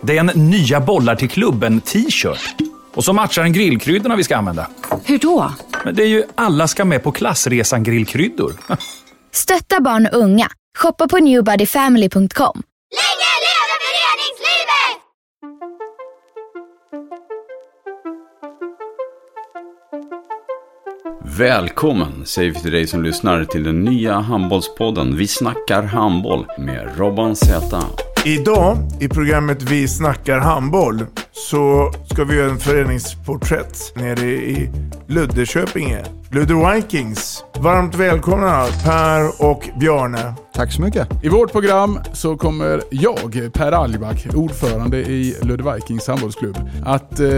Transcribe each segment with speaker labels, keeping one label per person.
Speaker 1: Det är en nya bollar till klubben-t-shirt. Och så matchar den grillkryddorna vi ska använda.
Speaker 2: Hur då?
Speaker 1: Men det är ju alla ska med på klassresan grillkryddor.
Speaker 3: Stötta barn och unga. Shoppa på newbodyfamily.com.
Speaker 4: Länge leve föreningslivet!
Speaker 5: Välkommen säger vi till dig som lyssnar till den nya handbollspodden Vi snackar handboll med Robban Z.
Speaker 6: Idag i programmet Vi snackar handboll så ska vi göra en föreningsporträtt nere i Luddeköpinge. Ludde Vikings. Varmt välkomna Per och Bjarne.
Speaker 7: Tack så mycket.
Speaker 8: I vårt program så kommer jag, Per Alback, ordförande i Ludde Vikings handbollsklubb, att eh,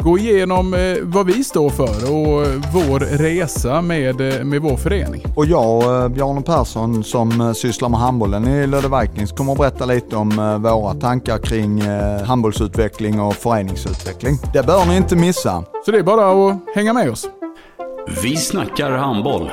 Speaker 8: gå igenom eh, vad vi står för och vår resa med, eh, med vår förening.
Speaker 7: Och jag, eh, Bjarne Persson, som eh, sysslar med handbollen i Lödde Vikings, kommer att berätta lite om eh, våra tankar kring eh, handbollsutveckling och föreningsutveckling. Det bör ni inte missa.
Speaker 8: Så det är bara att hänga med oss.
Speaker 5: Vi snackar handboll.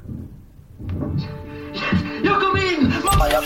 Speaker 9: Jag kom in! Mamma, jag